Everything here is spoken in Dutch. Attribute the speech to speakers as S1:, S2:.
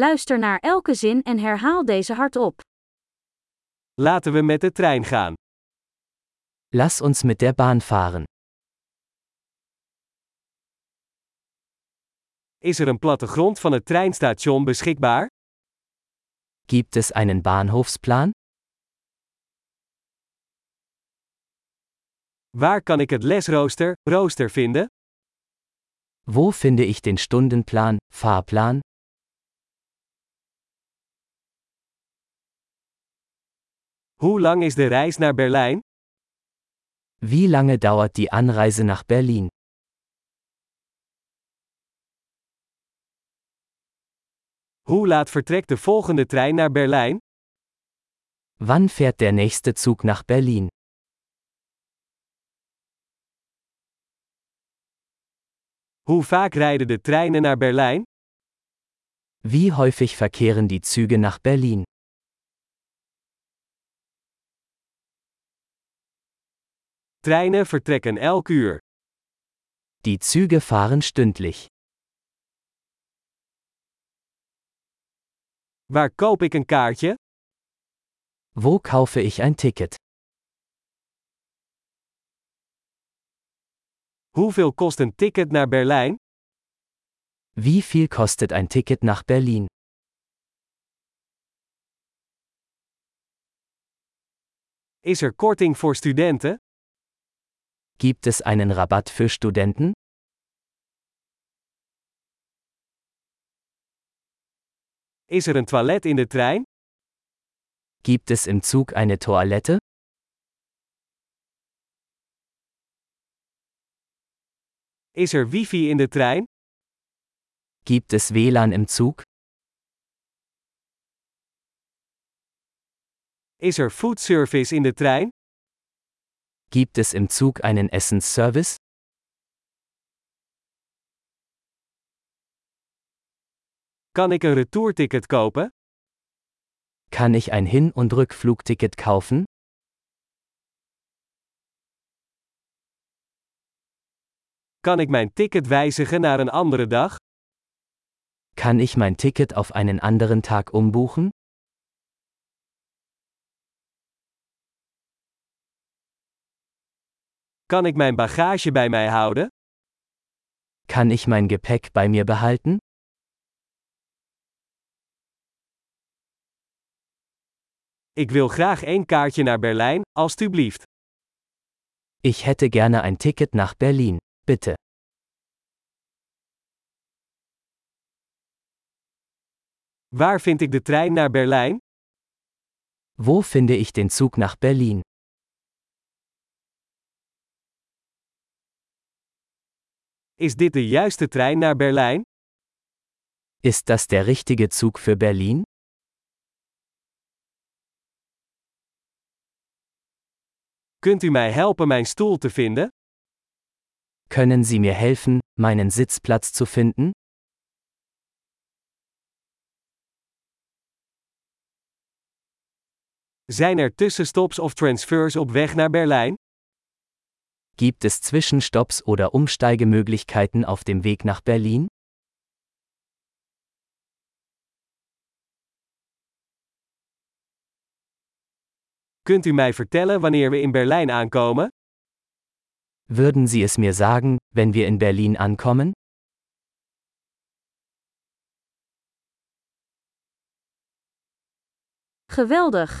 S1: Luister naar elke zin en herhaal deze hardop.
S2: Laten we met de trein gaan.
S3: Lass uns mit der Bahn fahren.
S2: Is er een plattegrond van het treinstation beschikbaar?
S3: Gibt es einen Bahnhofsplan?
S2: Waar kan ik het lesrooster, rooster vinden?
S3: Wo finde ich den Stundenplan, Fahrplan?
S2: Hoe lang is de reis naar Berlijn?
S3: Wie lange dauert die Anreise nach Berlin?
S2: Hoe laat vertrekt de volgende trein naar Berlijn?
S3: Wann fährt der nächste Zug nach Berlin?
S2: Hoe vaak rijden de treinen naar Berlijn?
S3: Wie häufig verkehren die Züge nach Berlin?
S2: Treinen vertrekken elk uur.
S3: Die Züge fahren stündlich.
S2: Waar koop ik een kaartje?
S3: Wo kaufe ich ein Ticket?
S2: Hoeveel kost een ticket naar Berlijn?
S3: Wie viel kostet ein Ticket nach Berlin?
S2: Is er korting voor studenten?
S3: Gibt es einen Rabatt für Studenten?
S2: Is er een toilet in de trein?
S3: Gibt es im Zug eine Toilette?
S2: Is er wifi in de trein?
S3: Gibt es WLAN im Zug?
S2: Is er foodservice in de trein?
S3: Gibt es im Zug einen Essensservice?
S2: Kan ik een retourticket kopen?
S3: Kann ich ein Hin- und Rückflugticket kaufen?
S2: Kan ik mijn ticket wijzigen naar een andere dag?
S3: Kann ich mein Ticket auf einen anderen Tag umbuchen?
S2: Kan ik mijn bagage bij mij houden?
S3: Kann ich mein Gepäck bei mir behalten?
S2: Ik wil graag één kaartje naar Berlijn, alstublieft.
S3: Ich hätte gerne ein Ticket nach Berlin, bitte.
S2: Waar vind ik de trein naar Berlijn?
S3: Wo finde ich den Zug nach Berlin?
S2: Is dit de juiste trein naar Berlijn?
S3: Ist das der richtige Zug für Berlin?
S2: Kunt u mij helpen mijn stoel te vinden?
S3: Können Sie mir helfen, meinen Sitzplatz zu finden?
S2: Zijn er tussenstops of transfers op weg naar Berlijn?
S3: Gibt es Zwischenstopps oder Umsteigemöglichkeiten auf dem Weg nach Berlin?
S2: Kunt u mij vertellen wanneer we in Berlijn aankomen?
S3: Würden Sie es mir sagen, wenn wir in Berlin ankommen?
S1: Geweldig!